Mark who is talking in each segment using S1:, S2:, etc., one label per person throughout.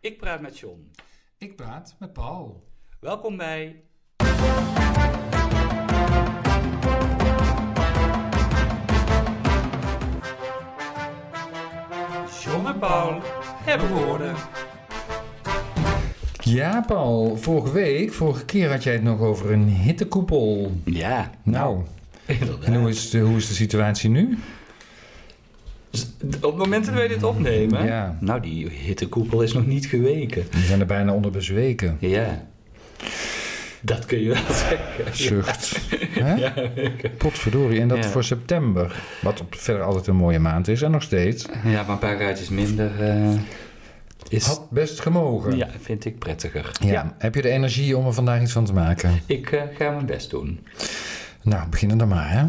S1: Ik praat met John.
S2: Ik praat met Paul.
S1: Welkom bij. John en Paul hebben woorden.
S2: Ja, Paul, vorige week, vorige keer had jij het nog over een hittekoepel.
S1: Ja,
S2: Nou, en
S1: inderdaad.
S2: hoe is, de, hoe is de situatie nu?
S1: Dus Op het moment dat wij dit opnemen,
S2: Ja.
S1: nou die hittekoepel is nog niet geweken.
S2: We zijn er bijna onder bezweken.
S1: Ja, dat kun je wel zeggen.
S2: Zucht. Hè?
S1: Ja, ik-
S2: Potverdorie, en dat
S1: Ja.
S2: voor september. Wat op, verder altijd een mooie maand is en nog steeds.
S1: ja maar een paar raadjes minder eh, is,
S2: Had best gemogen.
S1: ja, vind ik prettiger.
S2: Ja. Heb je de energie om er vandaag iets van te maken?
S1: Ik eh, ga mijn best doen.
S2: Nou, beginnen dan maar, hè?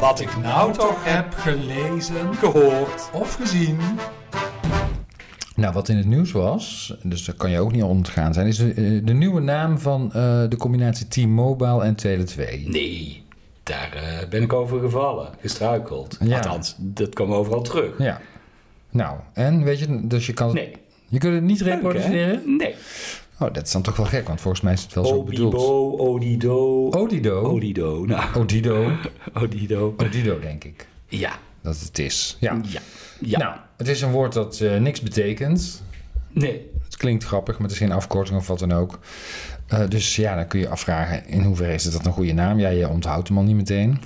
S1: Wat ik nou toch
S2: heb gelezen
S1: gehoord.
S2: of gezien. Nou, wat in het nieuws was, dus dat kan je ook niet ontgaan zijn, is de, eh, de nieuwe naam van eh, de combinatie T-Mobile en Tele2.
S1: Nee, daar eh, ben ik over gevallen, gestruikeld.
S2: Ja.
S1: Althans, dat kwam overal terug.
S2: Ja. Nou, en weet je, dus je kan het,
S1: Nee,
S2: je kunt het niet
S1: leuk, hè?
S2: reproduceren.
S1: Nee.
S2: Oh, dat is dan toch wel gek, want volgens mij is het wel zo bedoeld. Oh.
S1: Obibo, Odido.
S2: Odido.
S1: Odido, nou,
S2: Odido.
S1: Odido.
S2: Odido, denk ik.
S1: Ja,
S2: Dat het is. Ja.
S1: ja, ja.
S2: Nou, het is een woord dat eh, niks betekent.
S1: nee,
S2: Het klinkt grappig, maar het is geen afkorting of wat dan ook. Eh, dus ja, dan kun je afvragen in hoeverre is het dat een goede naam? Ja, je onthoudt hem al niet meteen.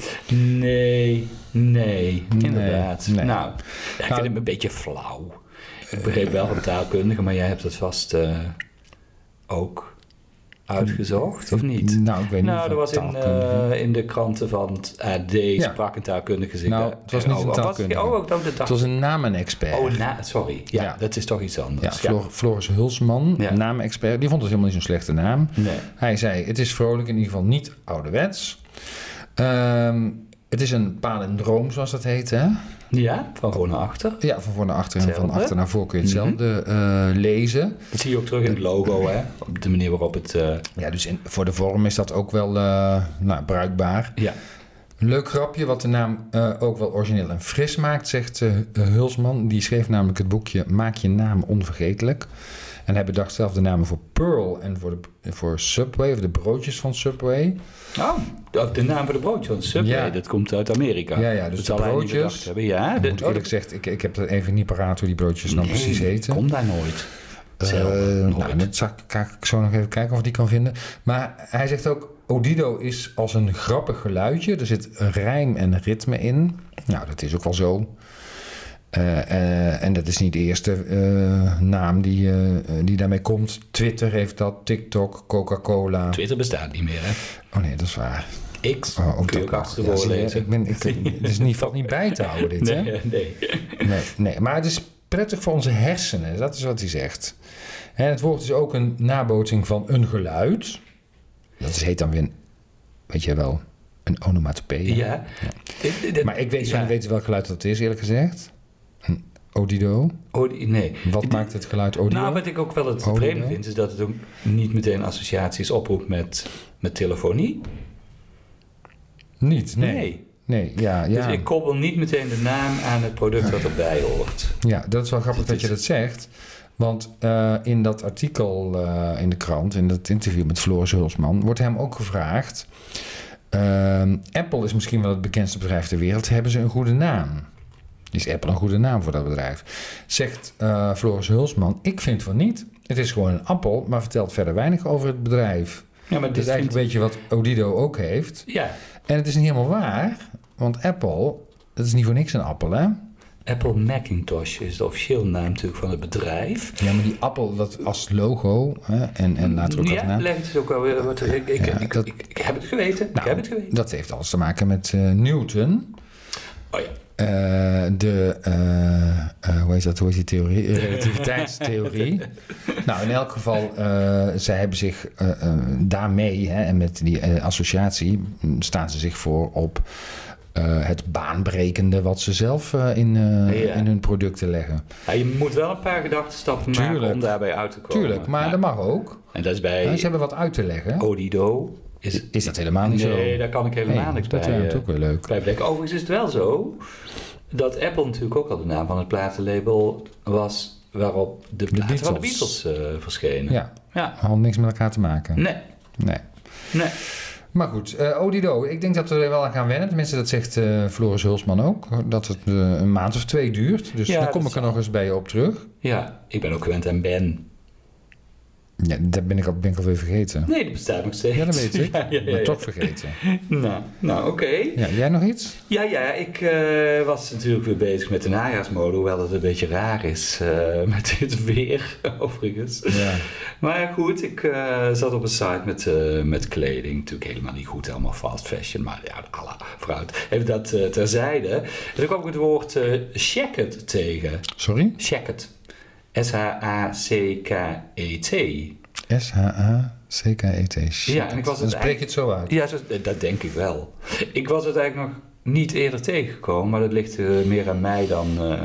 S1: nee, nee, inderdaad.
S2: nee.
S1: Nou, ja, ik vind
S2: Nou,
S1: hem een beetje flauw. Ik begreep wel van taalkundige, maar jij hebt het vast eh, ook uitgezocht, of niet?
S2: Nou, ik weet niet.
S1: Nou,
S2: of
S1: er was in,
S2: taalkundige-
S1: eh, in de kranten van het AD sprak een taalkundige zich.
S2: Nou,
S1: daar-
S2: het was niet
S1: oh,
S2: een
S1: oh,
S2: taalkundige.
S1: Was, oh, ook dan de
S2: Het
S1: taal.
S2: was een namenexpert.
S1: Oh, na, sorry. Ja,
S2: Ja.
S1: dat is toch iets
S2: ja,
S1: anders.
S2: Flor- Floris Hulsman,
S1: Ja.
S2: namenexpert, die vond het helemaal niet zo'n slechte naam.
S1: Nee.
S2: Hij zei: Het is vrolijk, in ieder geval niet ouderwets. Ehm, het is een palindroom, zoals dat heet. Hè?
S1: Ja, van gewoon naar achter.
S2: Ja, van voor naar achter en van
S1: Hetzelfde. Mhm.
S2: achter naar voor kun je hetzelfde eh, lezen.
S1: Dat zie je ook terug in het logo, hè? Op de manier waarop het... eh,
S2: Ja, dus in- voor de vorm is dat ook wel eh, nou, bruikbaar.
S1: ja.
S2: Een leuk grapje, wat de naam eh, ook wel origineel en fris maakt, zegt eh, Hulsman. Die schreef namelijk het boekje Maak je naam onvergetelijk. En hij bedacht zelf de namen voor Pearl en voor, de, voor Subway, of de broodjes van Subway.
S1: Oh, de, de naam van de broodje, want Subway,
S2: Ja.
S1: dat komt uit Amerika.
S2: Ja, ja, dus
S1: dat zal
S2: de
S1: hij niet
S2: broodjes-
S1: bedacht hebben. Ja,
S2: Ik
S1: oh, de,
S2: moet eerlijk gezegd, ik, ik heb er even niet paraat hoe die broodjes nou precies heten.
S1: Kom daar nooit.
S2: Eh,
S1: Zelden,
S2: nou,
S1: nooit.
S2: dat zal ik, ga ik zo nog even kijken of ik die kan vinden. Maar hij zegt ook, Odido is als een grappig geluidje. Er zit rijm en ritme in. Nou, dat is ook wel zo. Eh, eh, en dat is niet de eerste eh, naam die, eh, eh, die daarmee komt. Twitter heeft dat, TikTok, Coca-Cola.
S1: Twitter bestaat niet meer, hè?
S2: Oh nee, dat is waar.
S1: X
S2: Oh,
S1: kun
S2: ook
S1: je
S2: dat
S1: ook
S2: kan.
S1: achter
S2: Ja,
S1: de woorden
S2: zie je,
S1: lezen.
S2: ik ben, ik, het is niet, valt niet bij te houden dit, hè?
S1: Nee, nee.
S2: Nee, nee, maar het is prettig voor onze hersenen, dat is wat hij zegt. En het woord is ook een nabootsing van een geluid. Dat is, heet dan weer, een- weet je wel, een onomatopee.
S1: Ja. Dit- dit- dit-
S2: Maar ik weet zo
S1: ja.
S2: niet weten welk geluid dat is, eerlijk gezegd. Een odido.
S1: Oh, die- nee.
S2: Wat
S1: Die-
S2: maakt het geluid odido?
S1: Nou, wat ik ook wel het
S2: Oh,
S1: vreemde
S2: ja.
S1: vind, is dat het ook niet meteen associaties oproept met, met telefonie.
S2: Niet, nee. Nee, ja, ja.
S1: Dus ik koppel niet meteen de naam aan het product wat erbij hoort.
S2: ja, dat is wel grappig
S1: Het
S2: dat je
S1: is-
S2: dat zegt. Want eh, in dat artikel eh, in de krant, in dat interview met Floris Hulsman, wordt hem ook gevraagd. ehm, Apple is misschien wel het bekendste bedrijf ter wereld. Hebben ze een goede naam? Is Apple een goede naam voor dat bedrijf? Zegt eh, Floris Hulsman: Ik vind van niet. Het is gewoon een appel, maar vertelt verder weinig over het bedrijf.
S1: Ja, maar
S2: Het is
S1: dit
S2: eigenlijk
S1: vind
S2: een beetje wat Odido ook heeft.
S1: Ja,
S2: En het is niet helemaal waar, want Apple, dat is niet voor niks een appel, hè?
S1: Apple Macintosh is de officieel naam natuurlijk van het bedrijf.
S2: Ja, maar die appel dat als logo hè, en, en later ook als
S1: Ja,
S2: naam.
S1: legt het ook wel weer wat. Ik, ik,
S2: Ja,
S1: ik,
S2: dat-
S1: ik, ik heb het geweten. ik
S2: Nou,
S1: heb het geweten.
S2: Dat heeft alles te maken met eh, Newton.
S1: Oh ja.
S2: Eh, de, eh, eh, hoe heet dat, hoe heet die theorie? Eh, Relativiteitstheorie. nou, in elk geval, eh, zij hebben zich eh, eh, daarmee hè, en met die eh, associatie mm, staan ze zich voor op eh, het baanbrekende wat ze zelf eh, in, eh,
S1: Ja.
S2: in hun producten leggen.
S1: Ja, je moet wel een paar gedachtenstappen maken
S2: Tuurlijk.
S1: om daarbij uit te komen.
S2: Tuurlijk, maar
S1: Ja.
S2: dat mag ook.
S1: En dat is
S2: Hè,
S1: bij
S2: ze hebben wat uit te leggen.
S1: Odido, Is,
S2: Is dat helemaal niet zo?
S1: nee, daar kan ik helemaal
S2: Nee,
S1: niks
S2: dat
S1: bij,
S2: lijkt
S1: eh,
S2: ook wel leuk.
S1: bij bedenken. Overigens is het wel zo dat Apple natuurlijk ook al de naam van het platenlabel was waarop de platen van de
S2: Beatles.
S1: Beatles eh, verschenen.
S2: Ja,
S1: Ja.
S2: had niks met elkaar te maken.
S1: Nee,
S2: Nee.
S1: nee.
S2: Maar goed, eh, Odido, ik denk dat we er wel aan gaan wennen. Tenminste, dat zegt eh, Floris Hulsman ook. Dat het eh, een maand of twee duurt. Dus
S1: Ja,
S2: dan kom
S1: dat
S2: ik er nog eens bij je op terug.
S1: Ja, ik ben ook gewend aan Ben.
S2: Ja, dat ben ik, al, ben ik alweer vergeten.
S1: Nee, dat bestaat nog steeds.
S2: Ja, dat weet ik.
S1: Ja, ja, ja,
S2: Maar
S1: ja.
S2: toch vergeten.
S1: Nou, nou oké.
S2: Ja, jij nog iets?
S1: Ja, ja, ik eh, was natuurlijk weer bezig met de najaarsmode, hoewel het een beetje raar is eh, met dit weer, overigens.
S2: Ja.
S1: Maar goed, ik eh, zat op een site met, eh, met kleding. Natuurlijk helemaal niet goed, helemaal fast fashion. Maar ja, alla, vooruit. Even dat eh, terzijde. En toen kwam ik het woord eh shacket tegen.
S2: Sorry?
S1: Shacket. S-H-A-C-K-E-T.
S2: S-H-A-C-K-E-T.
S1: Ja, en ik was
S2: Dan
S1: het
S2: spreek je het zo uit.
S1: Ja, zo- eh, dat denk ik wel. Ik was het eigenlijk nog niet eerder tegengekomen, maar dat ligt eh, meer aan mij dan, eh,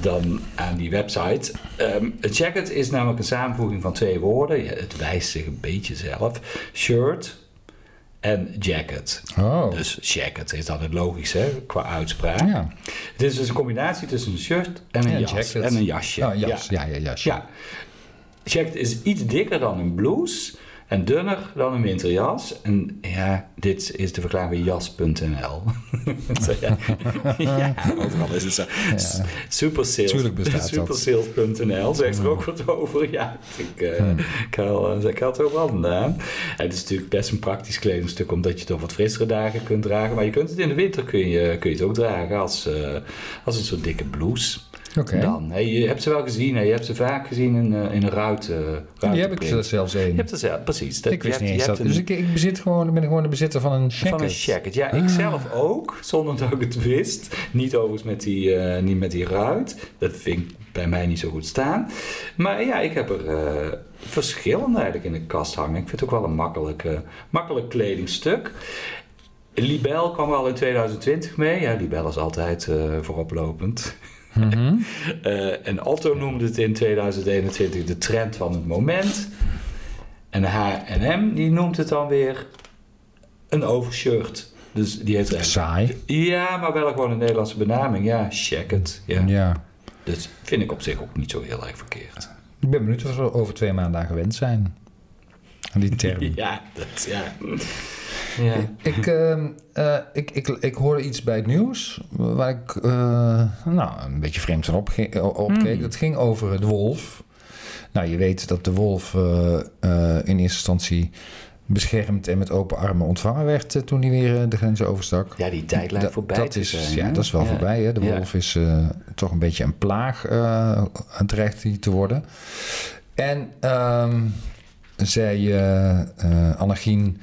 S1: dan aan die website. Ehm, Een jacket is namelijk een samenvoeging van twee woorden. Ja, het wijst zich een beetje zelf. Shirt en jacket.
S2: Oh.
S1: Dus jacket is dan het logisch, hè, qua uitspraak.
S2: Ja.
S1: Het is dus een combinatie tussen een shirt en een,
S2: En
S1: jas,
S2: jacket.
S1: en een jasje.
S2: Oh, jas. Ja, ja, jas.
S1: Ja. Jacket is iets dikker dan een blouse en dunner dan een winterjas. En ja, dit is te verklaren bij jas.nl. Zo, ja. ja, overal is het zo. S- Super sales.
S2: Tuurlijk bestaat dat.
S1: Supersales.nl zegt er ook wat over. Ja, ik, eh, ik, haal, eh, ik haal het ook wel vandaan. En het is natuurlijk best een praktisch kledingstuk, omdat je het op wat frissere dagen kunt dragen. Maar je kunt het in de winter kun je, kun je het ook dragen als, eh, als een soort dikke blouse.
S2: Oké.
S1: Dan. Hey, je hebt ze wel gezien, hè? je hebt ze vaak gezien in, eh, in een ruit, eh
S2: Die heb ik
S1: ruitenprint.
S2: er zelfs
S1: Je
S2: één.
S1: hebt er zelf, precies. Dat-
S2: Ik wist
S1: je
S2: niet
S1: hebt-
S2: eens
S1: je
S2: dat.
S1: hebt
S2: Dus
S1: een-
S2: ik, ik bezit gewoon, ben gewoon de bezitter van een check. Ah.
S1: van een jacket. Ja, ik zelf ook, zonder dat ik het wist. Niet overigens met die, eh, niet met die ruit. Dat vind ik bij mij niet zo goed staan. Maar ja, ik heb er eh, verschillende eigenlijk in de kast hangen. Ik vind het ook wel een makkelijk, eh, makkelijk kledingstuk. Libel kwam al in 2020 mee. Ja, Libel is altijd eh, vooroplopend.
S2: Mhm.
S1: Eh, en Otto noemde het in 2021 de trend van het moment. En H&M die noemt het dan weer een overshirt. Dus die heeft echt...
S2: Saai.
S1: Ja, maar wel gewoon een Nederlandse benaming. Ja, jacket. Ja.
S2: Ja.
S1: Dus vind ik op zich ook niet zo heel erg verkeerd.
S2: Ik ben benieuwd of we over twee maanden aan gewend zijn. Aan die term.
S1: Ja, dat ja. ja.
S2: Ik, ehm, eh, ik, ik, ik hoorde iets bij het nieuws waar ik eh, nou, een beetje vreemd van opge- eh, opkeek.
S1: Mm.
S2: Dat ging over de wolf. Nou, je weet dat de wolf eh, eh, in eerste instantie beschermd en met open armen ontvangen werd eh, toen hij weer eh, de grenzen overstak.
S1: Ja, die tijd lijkt
S2: Dat-
S1: voorbij
S2: dat
S1: te
S2: is,
S1: zijn,
S2: Ja,
S1: hè?
S2: dat is wel
S1: Ja.
S2: voorbij. Hè? De
S1: Ja.
S2: wolf is eh, toch een beetje een plaag eh dreigt die te worden. En ehm, zei eh eh Annegien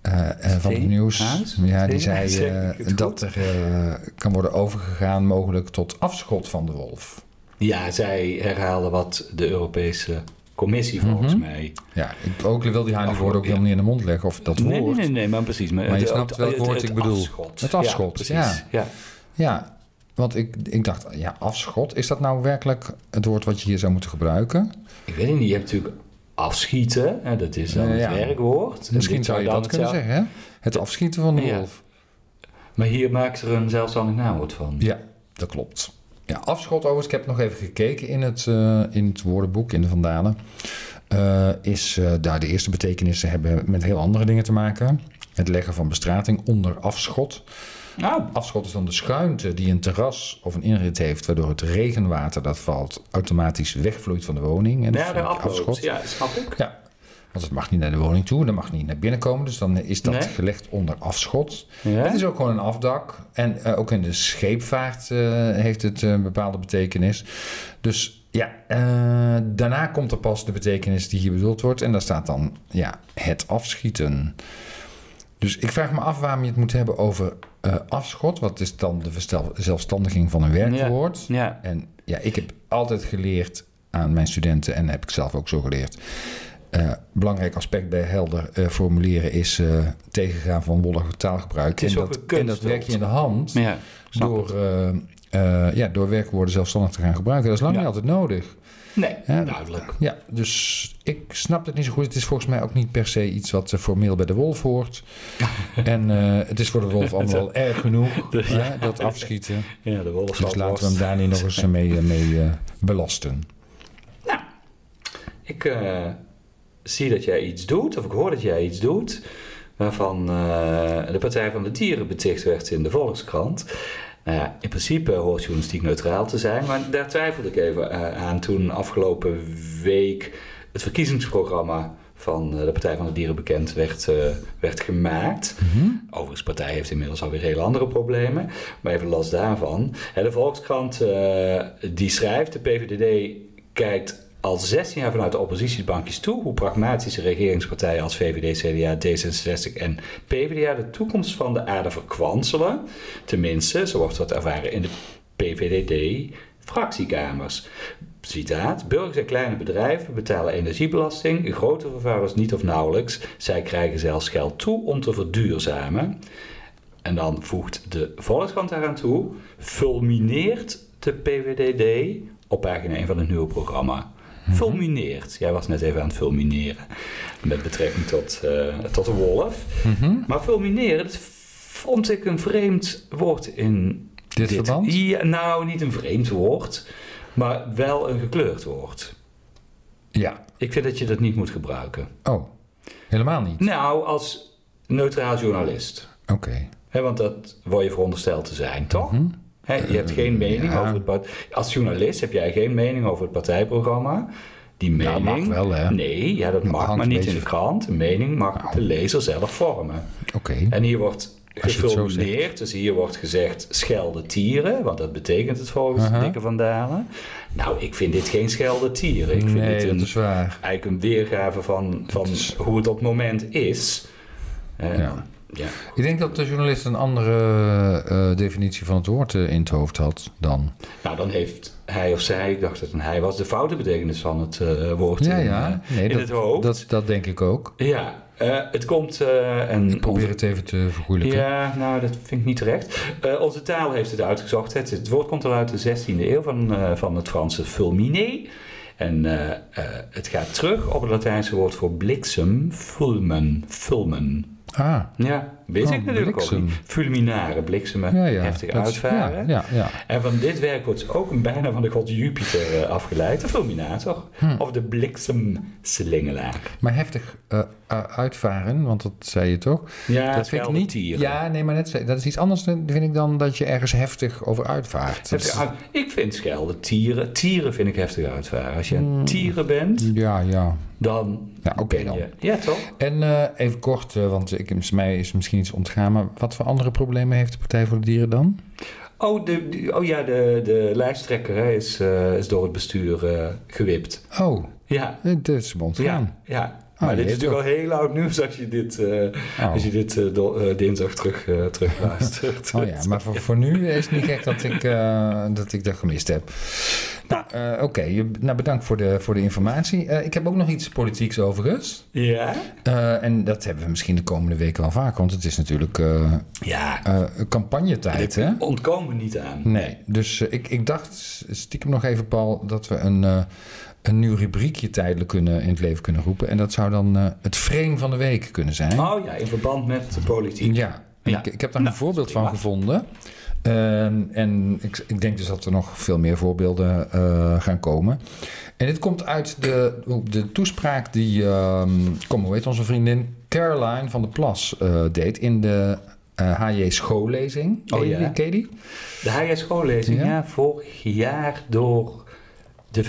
S2: eh, eh, van het
S1: Veen?
S2: nieuws...
S1: Haas?
S2: Ja,
S1: Veen?
S2: die zei
S1: Zeg
S2: eh,
S1: ik het
S2: dat er eh, kan worden overgegaan mogelijk tot afschot van de wolf.
S1: Ja, zij herhalen wat de Europese Commissie
S2: Mhm.
S1: volgens mij.
S2: Ja, ik ook, wil die haar die
S1: Afschot,
S2: woorden ook
S1: ja.
S2: helemaal niet in de mond leggen of dat
S1: Nee, nee,
S2: woord.
S1: nee, nee, maar precies. Maar,
S2: Maar je
S1: het-
S2: snapt
S1: het-
S2: welk
S1: het-
S2: woord
S1: het
S2: ik bedoel.
S1: afschot.
S2: Het afschot,
S1: ja. Precies.
S2: ja.
S1: ja.
S2: Ja, want ik, ik dacht, ja, afschot, is dat nou werkelijk het woord wat je hier zou moeten gebruiken?
S1: Ik weet het niet, je hebt natuurlijk afschieten, hè, dat is dan
S2: Ja,
S1: het
S2: ja.
S1: werkwoord. En
S2: Misschien
S1: dit
S2: zou je
S1: dan
S2: dat kunnen
S1: hetzelfde-
S2: zeggen, hè? Het afschieten van de
S1: Ja.
S2: wolf.
S1: Maar hier maken ze er een zelfstandig naamwoord van.
S2: Ja, dat klopt. Ja, afschot overigens, ik heb nog even gekeken in het, eh, in het woordenboek, in de Vandalen. Eh, is eh, daar de eerste betekenissen hebben met heel andere dingen te maken. Het leggen van bestrating onder afschot.
S1: Nou,
S2: Afschot is dan de schuimte die een terras of een inrit heeft, waardoor het regenwater dat valt automatisch wegvlooeit van de woning. En dus
S1: ja,
S2: dat is
S1: de
S2: natuurlijk
S1: afschot. Ja, snap ik.
S2: ja, want het mag niet naar de woning toe, dat mag niet naar binnen komen. Dus dan is dat
S1: Nee.
S2: gelegd onder afschot.
S1: Ja.
S2: Het is ook gewoon een afdak. En eh, ook in de scheepvaart eh, heeft het eh, een bepaalde betekenis. Dus ja, eh, daarna komt er pas de betekenis die hier bedoeld wordt. En daar staat dan ja, het afschieten. Dus ik vraag me af waarom je het moet hebben over eh, afschot. Wat is dan de verstel- zelfstandiging van een werkwoord?
S1: Ja.
S2: En ja, ik heb altijd geleerd aan mijn studenten, en heb ik zelf ook zo geleerd. eh, belangrijk aspect bij helder eh, formuleren is eh, tegengaan van wollig taalgebruik.
S1: Het is
S2: en,
S1: ook
S2: dat,
S1: een
S2: en dat
S1: kunstwoord.
S2: werk je in de hand
S1: Ja. snap
S2: door eh, eh, ja, door werkwoorden zelfstandig te gaan gebruiken. Dat is lang
S1: Ja.
S2: niet altijd nodig.
S1: Nee,
S2: Ja.
S1: duidelijk.
S2: Ja, dus ik snap het niet zo goed. Het is volgens mij ook niet per se iets wat eh, formeel bij de wolf hoort. en eh, het is voor de wolf allemaal wel erg genoeg,
S1: Ja.
S2: hè, dat afschieten.
S1: Ja, de wolf
S2: Dus laten we hem daar niet nog eens mee, eh, mee eh, belasten.
S1: Nou, ik eh, zie dat jij iets doet, of ik hoor dat jij iets doet, waarvan eh, de Partij van de Dieren beticht werd in de Volkskrant. Nou ja, in principe hoort journalistiek neutraal te zijn, maar daar twijfelde ik even eh, aan toen afgelopen week het verkiezingsprogramma van eh, de Partij van de Dieren bekend werd, eh, werd gemaakt.
S2: Mhm.
S1: Overigens, de partij heeft inmiddels alweer hele andere problemen. Maar even last daarvan. Hè, De Volkskrant eh, die schrijft, de PVDD kijkt al 16 jaar vanuit de oppositiebankjes toe hoe pragmatische regeringspartijen als VVD, CDA, D66 en PvdA de toekomst van de aarde verkwanselen. Tenminste, zo wordt dat ervaren in de PVDD-fractiekamers. Citaat, burgers en kleine bedrijven betalen energiebelasting, grote vervuilers niet of nauwelijks. Zij krijgen zelfs geld toe om te verduurzamen. En dan voegt de Volkskrant daaraan toe, fulmineert de PVDD op pagina 1 van het nieuwe programma. Fulmineert. Jij was net even aan het fulmineren met betrekking tot, eh, tot de wolf.
S2: Mhm.
S1: Maar fulmineren, dat vond ik een vreemd woord in
S2: Dit, verband?
S1: Ja, nou, niet een vreemd woord, maar wel een gekleurd woord.
S2: Ja.
S1: Ik vind dat je dat niet moet gebruiken.
S2: Oh, helemaal niet.
S1: Nou, als neutraal journalist.
S2: Oké.
S1: Hè, want dat word je verondersteld te zijn, toch?
S2: Mhm.
S1: Hè, je hebt geen mening
S2: ja.
S1: over het part- Als journalist heb jij geen mening over het partijprogramma. Die
S2: Ja,
S1: mening.
S2: mag wel, hè?
S1: Nee, ja, dat
S2: Dat
S1: mag,
S2: hangt
S1: maar
S2: een
S1: niet in
S2: beetje-
S1: de krant. De mening mag
S2: Nou.
S1: de lezer zelf vormen.
S2: Oké.
S1: En hier wordt
S2: Als je het zo
S1: gefilmeerd, dus hier wordt gezegd schelde tieren, want dat betekent het volgens
S2: Aha.
S1: Dikke van Dalen. Nou, ik vind dit geen schelde tieren. Ik vind dit
S2: Nee,
S1: een,
S2: dat is waar.
S1: eigenlijk een weergave van, van
S2: is-
S1: hoe het op het moment is. Eh,
S2: Ja.
S1: ja.
S2: Ik denk dat de journalist een andere eh, definitie van het woord eh, in het hoofd had dan.
S1: Nou, dan heeft hij of zij, ik dacht dat het een hij was, de foute betekenis van het eh, woord
S2: Ja,
S1: in,
S2: ja.
S1: eh,
S2: Nee,
S1: in
S2: dat,
S1: het hoofd.
S2: Dat, dat denk ik ook.
S1: Ja, eh, het komt... eh, en
S2: Ik probeer het even te vergoeilijken.
S1: Ja, nou, dat vind ik niet terecht. Eh, onze taal heeft het uitgezocht. Het, het woord komt al uit de 16e eeuw van, eh, van het Franse fulminé. En eh, eh, het gaat terug op het Latijnse woord voor bliksem, fulmen, fulmen.
S2: Ah,
S1: Ja, wist
S2: Oh,
S1: ik natuurlijk ook
S2: bliksem.
S1: niet. Fulminare, bliksemen,
S2: ja, ja.
S1: heftig
S2: Dat is-
S1: uitvaren.
S2: Ja, ja, ja.
S1: En van dit werk wordt ook een bijna van de god Jupiter eh, afgeleid, de fulminator.
S2: Hm.
S1: Of de bliksemslingelaar.
S2: Maar heftig eh, eh, uitvaren, want dat zei je toch?
S1: Ja,
S2: dat vind ik niet.
S1: Tieren.
S2: Ja, nee, maar net, zei- dat is iets anders, dan- vind ik, dan dat je ergens heftig over uitvaart. Dat
S1: Heftig
S2: is-
S1: uit- Ik vind schelden tieren. Tieren vind ik heftig uitvaren. Als je een tieren bent,
S2: Ja, ja.
S1: dan.
S2: Ja, Hmm. Nou, oké
S1: ben
S2: dan.
S1: je- Ja, toch?
S2: En eh, even kort, eh, want ik, is mij is misschien iets ontgaan, maar wat voor andere problemen heeft de Partij voor de Dieren dan?
S1: Oh, de, de- oh ja, de, de lijsttrekker hè, is, eh, is door het bestuur eh, gewipt.
S2: Oh,
S1: Ja.
S2: eh, dit is me ontgaan.
S1: Ja. ja. Maar
S2: Oh,
S1: dit is
S2: jee,
S1: natuurlijk al heel oud nieuws als je dit, eh,
S2: Oh.
S1: als je dit eh, do- eh, dinsdag terug, eh terugluistert.
S2: Oh ja, maar voor, voor nu is het niet gek dat ik, eh, dat ik dat gemist heb. Nou, eh, oké. je- Nou, bedankt voor de, voor de informatie. Eh, ik heb ook nog iets politieks overigens.
S1: Ja?
S2: Eh, en dat hebben we misschien de komende weken wel vaker, want het is natuurlijk eh
S1: Ja,
S2: eh, campagnetijd, hè?
S1: ontkomen niet aan.
S2: Nee, dus eh, ik, ik dacht stiekem nog even, Paul, dat we een, eh, een nieuw rubriekje tijdelijk kunnen, in het leven kunnen roepen. En dat zou dan eh, het frame van de week kunnen zijn.
S1: Oh ja, in verband met de politiek.
S2: Ja, en
S1: Ja.
S2: Ik, ik heb daar
S1: Nou,
S2: een voorbeeld
S1: prima.
S2: van gevonden. Ehm, en ik, ik denk dus dat er nog veel meer voorbeelden eh, gaan komen. En dit komt uit de, de toespraak die, ehm, kom hoe heet onze vriendin Caroline van der Plas eh, deed in de eh, HJ schoollezing.
S1: Oh
S2: Ken je
S1: ja.
S2: die- ken je die?
S1: De HS-schoollezing, ja.
S2: Ja.
S1: vorig jaar door de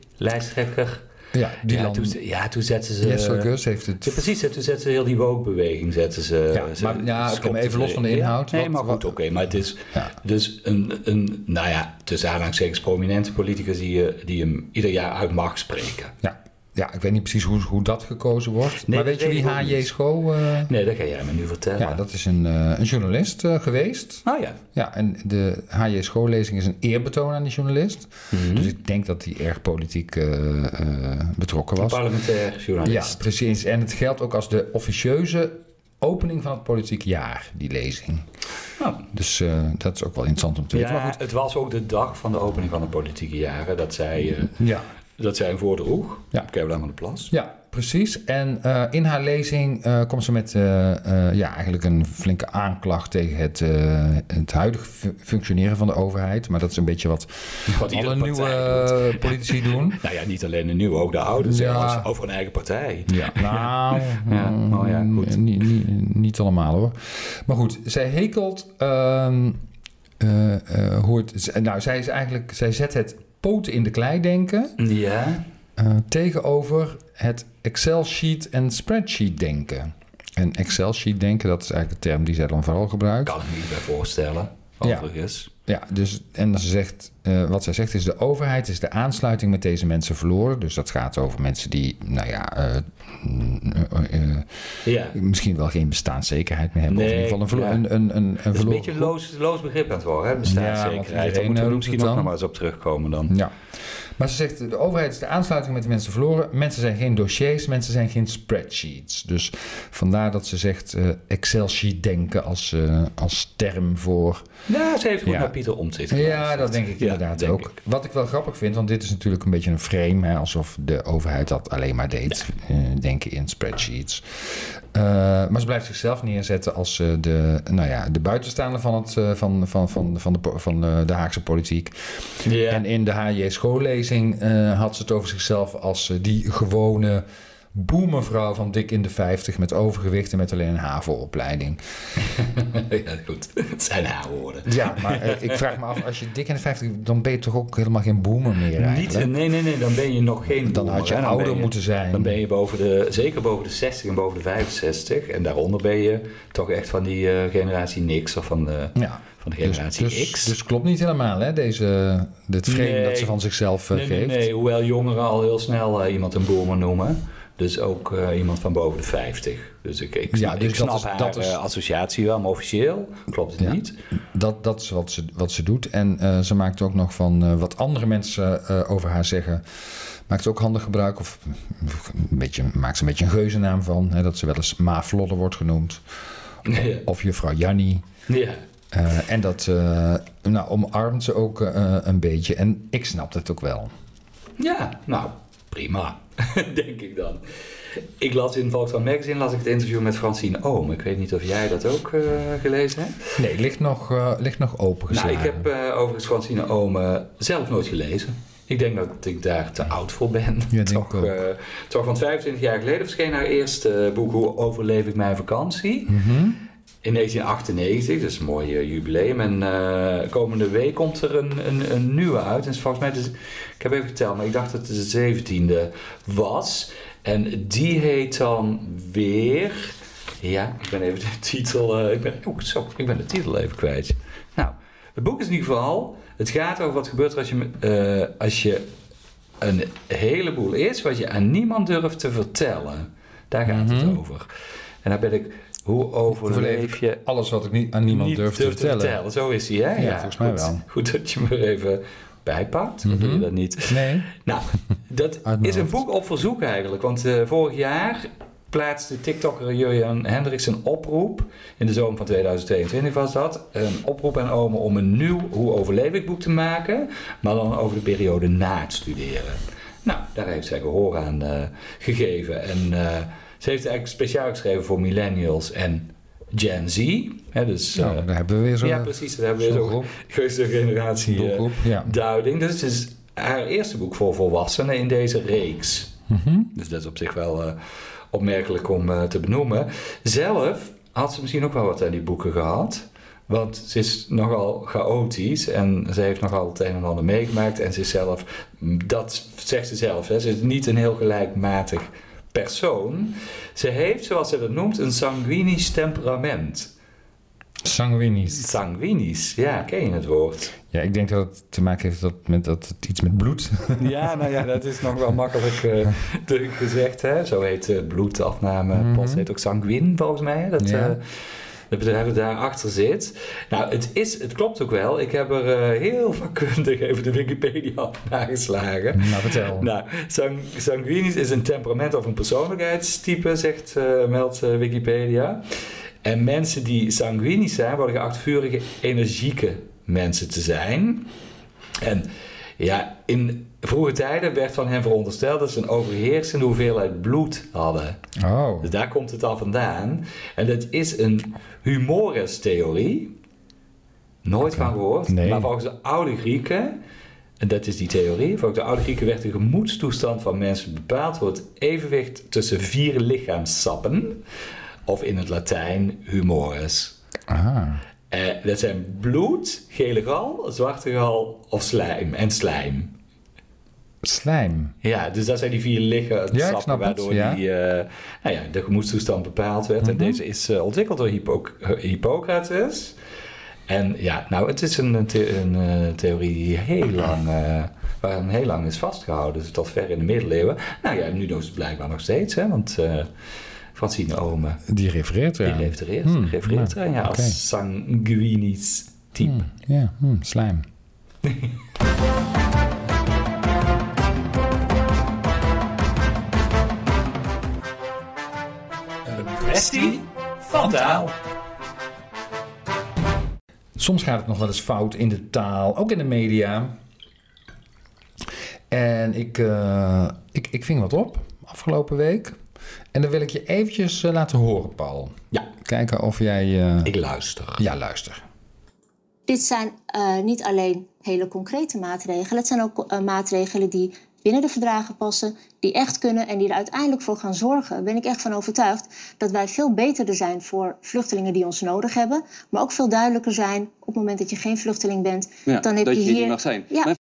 S1: VVD-lijsttrekker.
S2: Ja, die
S1: ja,
S2: land-
S1: toen, ze- ja, toen zetten ze...
S2: Jessel Gus heeft het
S1: Ja, precies, hè, toen zetten ze heel die woke-beweging. Zetten ze,
S2: Ja,
S1: ze-
S2: maar- ja, oké,
S1: schopten
S2: maar even
S1: ze-
S2: los van de
S1: ja,
S2: inhoud,
S1: nee,
S2: wat-
S1: maar goed,
S2: wat-
S1: oké. maar het is
S2: Ja.
S1: dus een, een, nou ja, tussen aanhalingstekens prominente politicus die, je- die hem ieder jaar uit mag spreken.
S2: Ja, ja, ik weet niet precies hoe, hoe dat gekozen wordt.
S1: Nee,
S2: maar
S1: dat
S2: weet je
S1: weet
S2: wie
S1: ik ook
S2: H.J.
S1: niet.
S2: Scho... eh,
S1: Nee, dat ga jij me nu vertellen.
S2: ja, dat is een, eh, een journalist eh, geweest.
S1: Oh ja.
S2: Ja, en de H.J. schoollezing is een eerbetoon aan die journalist.
S1: Hm?
S2: Dus ik denk dat hij erg politiek eh, eh, betrokken
S1: Een
S2: was.
S1: parlementair
S2: Ja,
S1: journalist.
S2: precies. En het geldt ook als de officieuze opening van het politiek jaar, die lezing.
S1: Oh.
S2: Dus eh, dat is ook wel interessant om te weten. maar
S1: Ja,
S2: goed,
S1: het was ook de dag van de opening van de politieke jaren dat zij, eh,
S2: ja.
S1: dat zij een voordroeg.
S2: Ja.
S1: Caroline van de Plas.
S2: Ja, precies. En eh, in haar lezing eh, komt ze met eh, eh, ja, eigenlijk een flinke aanklacht tegen het, eh, het huidige fu- functioneren van de overheid. Maar dat is een beetje wat
S1: Wat iedere
S2: alle
S1: partij
S2: nieuwe
S1: doet.
S2: eh, politici doen.
S1: Nou ja, niet alleen de nieuwe, ook de oude. Ze
S2: Ja.
S1: was over een eigen partij.
S2: Ja, nou,
S1: Ja,
S2: mm,
S1: oh ja, goed.
S2: Niet, niet, niet allemaal hoor. Maar goed, zij hekelt ehm, eh, eh, hoe het... z- Nou, zij is eigenlijk... Zij zet het poten in de klei denken
S1: Ja.
S2: eh, tegenover het Excel-sheet en spreadsheet denken. En Excel-sheet denken, dat is eigenlijk de term die zij dan vooral gebruikt.
S1: Kan ik me niet bij voorstellen,
S2: Ja.
S1: overigens.
S2: Ja, dus, en ze zegt, eh, wat zij zegt is: de overheid is de aansluiting met deze mensen verloren. Dus dat gaat over mensen die, nou ja, eh, mm, eh, eh,
S1: Ja.
S2: misschien wel geen bestaanszekerheid meer hebben. of in
S1: Nee,
S2: ieder geval een, verlo-
S1: ja.
S2: een, een, een, een
S1: Het is een
S2: verloren.
S1: beetje een loos, loos begrip aan het worden, hè?
S2: Ja, want
S1: bestaanszekerheid.
S2: je
S1: Ja, moeten
S2: zit ook
S1: we
S2: in
S1: er misschien
S2: Nederland
S1: ook nog maar eens op terugkomen dan.
S2: Ja. Maar ze zegt, de overheid is de aansluiting met de mensen verloren. Mensen zijn geen dossiers, mensen zijn geen spreadsheets. Dus vandaar dat ze zegt eh, Excel-sheet denken als, eh, als term voor...
S1: Nou, ze heeft goed
S2: Ja.
S1: naar Pieter Omtzigt
S2: Ja,
S1: geluisterd.
S2: dat denk ik
S1: Ja,
S2: inderdaad
S1: denk
S2: ook.
S1: ik.
S2: Wat ik wel grappig vind, want dit is natuurlijk een beetje een frame... Hè, alsof de overheid dat alleen maar deed, eh, denken in spreadsheets. Eh, maar ze blijft zichzelf neerzetten als eh, de, nou ja, de buitenstaander van, het, eh, van, van, van, van, de, po- van eh, de Haagse politiek.
S1: Ja.
S2: En in de HJ schoollezing eh, had ze het over zichzelf als eh, die gewone boemenvrouw van dik in de 50 met overgewicht en met alleen een HAVO-opleiding.
S1: ja, goed. Het zijn haar woorden.
S2: Ja, maar eh, ik vraag me af, als je dik in de 50 dan ben je toch ook helemaal geen boemer meer
S1: Niet,
S2: eigenlijk?
S1: nee, nee, nee, dan ben je nog geen
S2: dan
S1: boemer,
S2: had je
S1: hè. Dan
S2: ouder
S1: ben je-
S2: moeten zijn.
S1: Dan ben je boven de, zeker boven de 60 en boven de 65. En daaronder ben je toch echt van die eh, generatie niks of van de,
S2: ja.
S1: van de
S2: Dus,
S1: generatie
S2: dus,
S1: X.
S2: dus klopt niet helemaal, hè, deze, dit frame
S1: Nee.
S2: dat ze van zichzelf eh,
S1: nee, nee,
S2: geeft.
S1: nee, hoewel jongeren al heel snel eh, iemand een boemer noemen. Dus ook eh, iemand van boven de 50. Dus ik, ik,
S2: Ja,
S1: snap-
S2: dus
S1: ik
S2: dat
S1: snap
S2: is-
S1: haar
S2: dat is-
S1: eh, associatie wel, maar officieel klopt het
S2: Ja.
S1: niet.
S2: Dat, dat is wat ze, wat ze doet. En eh, ze maakt ook nog van eh, wat andere mensen eh, over haar zeggen. Maakt ook handig gebruik. Of een beetje, maakt ze een beetje een geuzennaam van. Hè, dat ze wel eens Ma Vlodder wordt genoemd.
S1: Ja.
S2: Of juffrouw Jannie.
S1: Ja.
S2: Eh, en dat eh, nou, omarmt ze ook eh, een beetje. En ik snap het ook wel.
S1: ja, nou, prima. Denk ik dan. Ik las in Volkswagen Magazine las ik het interview met Francine Oom. Ik weet niet of jij dat ook eh, gelezen hebt.
S2: Nee, ligt nog, eh, ligt nog
S1: Nou,
S2: opengeslagen.
S1: ik heb eh, overigens Francine Oom eh, zelf nooit gelezen. Ik denk dat ik daar te oud voor ben.
S2: Ja, denk
S1: toch,
S2: ik ook.
S1: eh, toch, want 25 jaar geleden verscheen haar eerste eh, boek Hoe overleef ik mijn vakantie?
S2: Mhm.
S1: In 1998, dus een mooi eh, jubileum. En eh, komende week komt er een, een, een nieuwe uit. En volgens mij, het is, ik heb even geteld, maar ik dacht dat het de 17e was. En die heet dan weer. Ja, ik ben even de titel. eh, ik, ben, oeh, zo, ik ben de titel even kwijt. Nou, het boek is in ieder geval. Het gaat over wat gebeurt er als je, eh, als je een heleboel is wat je aan niemand durft te vertellen. Daar gaat het over. En daar ben ik. Hoe overleef je
S2: Alles wat ik niet, aan niemand
S1: niet
S2: durf te
S1: durft
S2: vertellen.
S1: Zo is hij, hè?
S2: Ja, volgens mij
S1: goed. Mhm.
S2: wel.
S1: Goed dat je me er even bijpakt. Dan doe je dat niet.
S2: Nee.
S1: Nou, dat
S2: mijn
S1: is een
S2: hoofd.
S1: boek op verzoek eigenlijk. Want eh, vorig jaar plaatste TikToker Jurjan Hendricks een oproep. In de zomer van 2022 was dat. Een oproep aan Omen om een nieuw Hoe overleef ik boek te maken. Maar dan over de periode na het studeren. Nou, daar heeft zij gehoor aan eh, gegeven. En eh, ze heeft het eigenlijk speciaal geschreven voor millennials en Gen Z. Hè, dus, eh,
S2: Nou, daar hebben we weer zo'n
S1: ja, precies. Daar hebben we
S2: zo'n
S1: zo'n
S2: groep.
S1: geuze generatie eh,
S2: doelgroep. Ja.
S1: duiding. Dus het is haar eerste boek voor volwassenen in deze reeks.
S2: Mhm.
S1: Dus dat is op zich wel eh, opmerkelijk om eh, te benoemen. Zelf had ze misschien ook wel wat aan die boeken gehad. Want ze is nogal chaotisch en ze heeft nogal het een en ander meegemaakt. En ze is zelf, dat zegt ze zelf, hè, ze is niet een heel gelijkmatig persoon. Ze heeft, zoals ze dat noemt, een sanguinisch temperament.
S2: Sanguinisch.
S1: Sanguinisch, ja, ken je het woord?
S2: Ja, ik denk dat het te maken heeft dat, met, dat het iets met bloed.
S1: Ja, nou ja, dat is nog wel makkelijk eh, te- gezegd. Hè? Zo heet de bloedafname,
S2: Mhm.
S1: post heet ook sanguin volgens mij. hè? Dat,
S2: Ja.
S1: eh, dat bedrijf dat daarachter zit. Nou, het, is, het klopt ook wel. Ik heb er eh, heel vakkundig even de Wikipedia op nageslagen.
S2: nou, vertel.
S1: Nou, sang- sanguinisch is een temperament of een persoonlijkheidstype, zegt eh meldt eh, Wikipedia. En mensen die sanguinisch zijn, worden geacht vurige, energieke mensen te zijn. En ja, in vroege tijden werd van hen verondersteld dat ze een overheersende hoeveelheid bloed hadden.
S2: Oh.
S1: Dus daar komt het al vandaan. En dat is een humorestheorie. Nooit
S2: Oké.
S1: van gehoord.
S2: Nee.
S1: Maar volgens de oude Grieken, en dat is die theorie, volgens de oude Grieken werd de gemoedstoestand van mensen bepaald door het evenwicht tussen vier lichaamssappen. Of in het Latijn humores.
S2: Ah.
S1: Eh, dat zijn bloed, gele gal, zwarte gal of slijm. En slijm.
S2: Slijm.
S1: Ja, dus dat zijn die vier lichaamssappen
S2: Ja, ik snap het,
S1: waardoor
S2: ja.
S1: die, eh, nou ja, de gemoedstoestand bepaald werd.
S2: Mhm.
S1: En deze is eh, ontwikkeld door Hippo- Hippocrates. En ja, nou, het is een, the- een, eh, theorie die heel lang, eh, waaraan heel lang is vastgehouden. Dus tot ver in de middeleeuwen. Nou ja, nu doen ze het blijkbaar nog steeds, hè, want eh Francine Ome,
S2: Die refereert
S1: die
S2: eraan.
S1: refereert,
S2: Hmm,
S1: refereert
S2: nou,
S1: eraan, ja,
S2: oké.
S1: als sanguinisch type.
S2: Hmm, Ja, hmm, slijm.
S1: Kwestie van taal.
S2: Soms gaat het nog wel eens fout in de taal, ook in de media. En ik, eh, ik, ik ving wat op afgelopen week. En dan wil ik je eventjes eh, laten horen, Paul.
S1: Ja,
S2: Kijken of jij... eh,
S1: ik luister.
S2: Ja, luister.
S3: Dit zijn eh, niet alleen hele concrete maatregelen. Het zijn ook eh, maatregelen die binnen de verdragen passen, die echt kunnen en die er uiteindelijk voor gaan zorgen. Daar ben ik echt van overtuigd dat wij veel beter er zijn voor vluchtelingen die ons nodig hebben, maar ook veel duidelijker zijn op het moment dat je geen vluchteling bent.
S4: Ja,
S3: dan heb
S4: dat
S3: je
S4: hier
S3: hier-
S4: niet mag zijn.
S3: Ja.
S4: Maar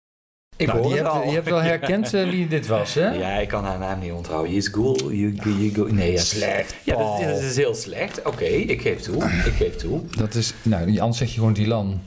S1: Ik
S2: Nou,
S1: hoor
S2: je,
S1: het al.
S2: hebt, je hebt wel herkend eh, wie dit was, hè?
S1: Ja, ik kan haar naam niet onthouden. Je is cool. Je, je, je go- nee, ja.
S2: Slecht,
S1: Ja, dat,
S2: Paul.
S1: dat is heel slecht. Oké, ik geef toe. Ik geef toe.
S2: Dat is... Nou, anders zeg je gewoon Dylan.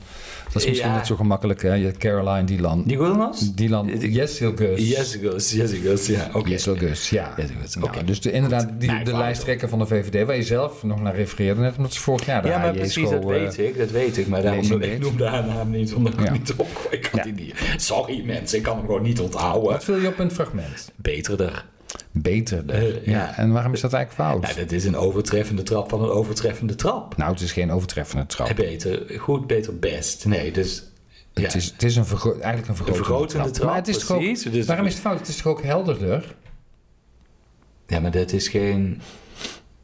S2: Dat is misschien
S1: Ja.
S2: net zo gemakkelijk, hè? Je- Caroline Dylan.
S1: Die Gulnas?
S2: Dylan, yes, heel good.
S1: Yes, it goes. Yes, it goes. Ja, oké.
S2: Jessel Gus, ja.
S1: Jessel Gus,
S2: Nou,
S1: oké.
S2: dus de, inderdaad, die,
S1: Nee,
S2: de
S1: fout.
S2: lijsttrekker van de VVD, waar je zelf nog naar refereerde, net omdat ze vorig jaar de
S1: Ja, maar
S2: AJ
S1: precies,
S2: school,
S1: dat
S2: eh,
S1: weet ik. Dat weet ik. Maar daarom
S2: lezing
S1: ik
S2: deed.
S1: noemde haar naam niet, omdat ik
S2: Ja.
S1: hem niet op. Ik kan die niet. Sorry mensen, ik kan hem gewoon niet onthouden.
S2: Wat viel je op een fragment?
S1: Beterder.
S2: Beterder.
S1: Eh,
S2: ja.
S1: ja.
S2: En waarom is dat eigenlijk fout?
S1: Ja, dat is een overtreffende trap van een overtreffende trap.
S2: Nou, het is geen overtreffende trap.
S1: Eh, Beter, goed, beter, best. Nee, dus... Ja.
S2: Het is, het is een vergro- eigenlijk een vergrotende,
S1: vergrotende trap,
S2: Maar het is toch
S1: precies.
S2: ook,
S1: Dus-
S2: waarom is het fout? Het is toch ook helderder?
S1: Ja, maar dat is geen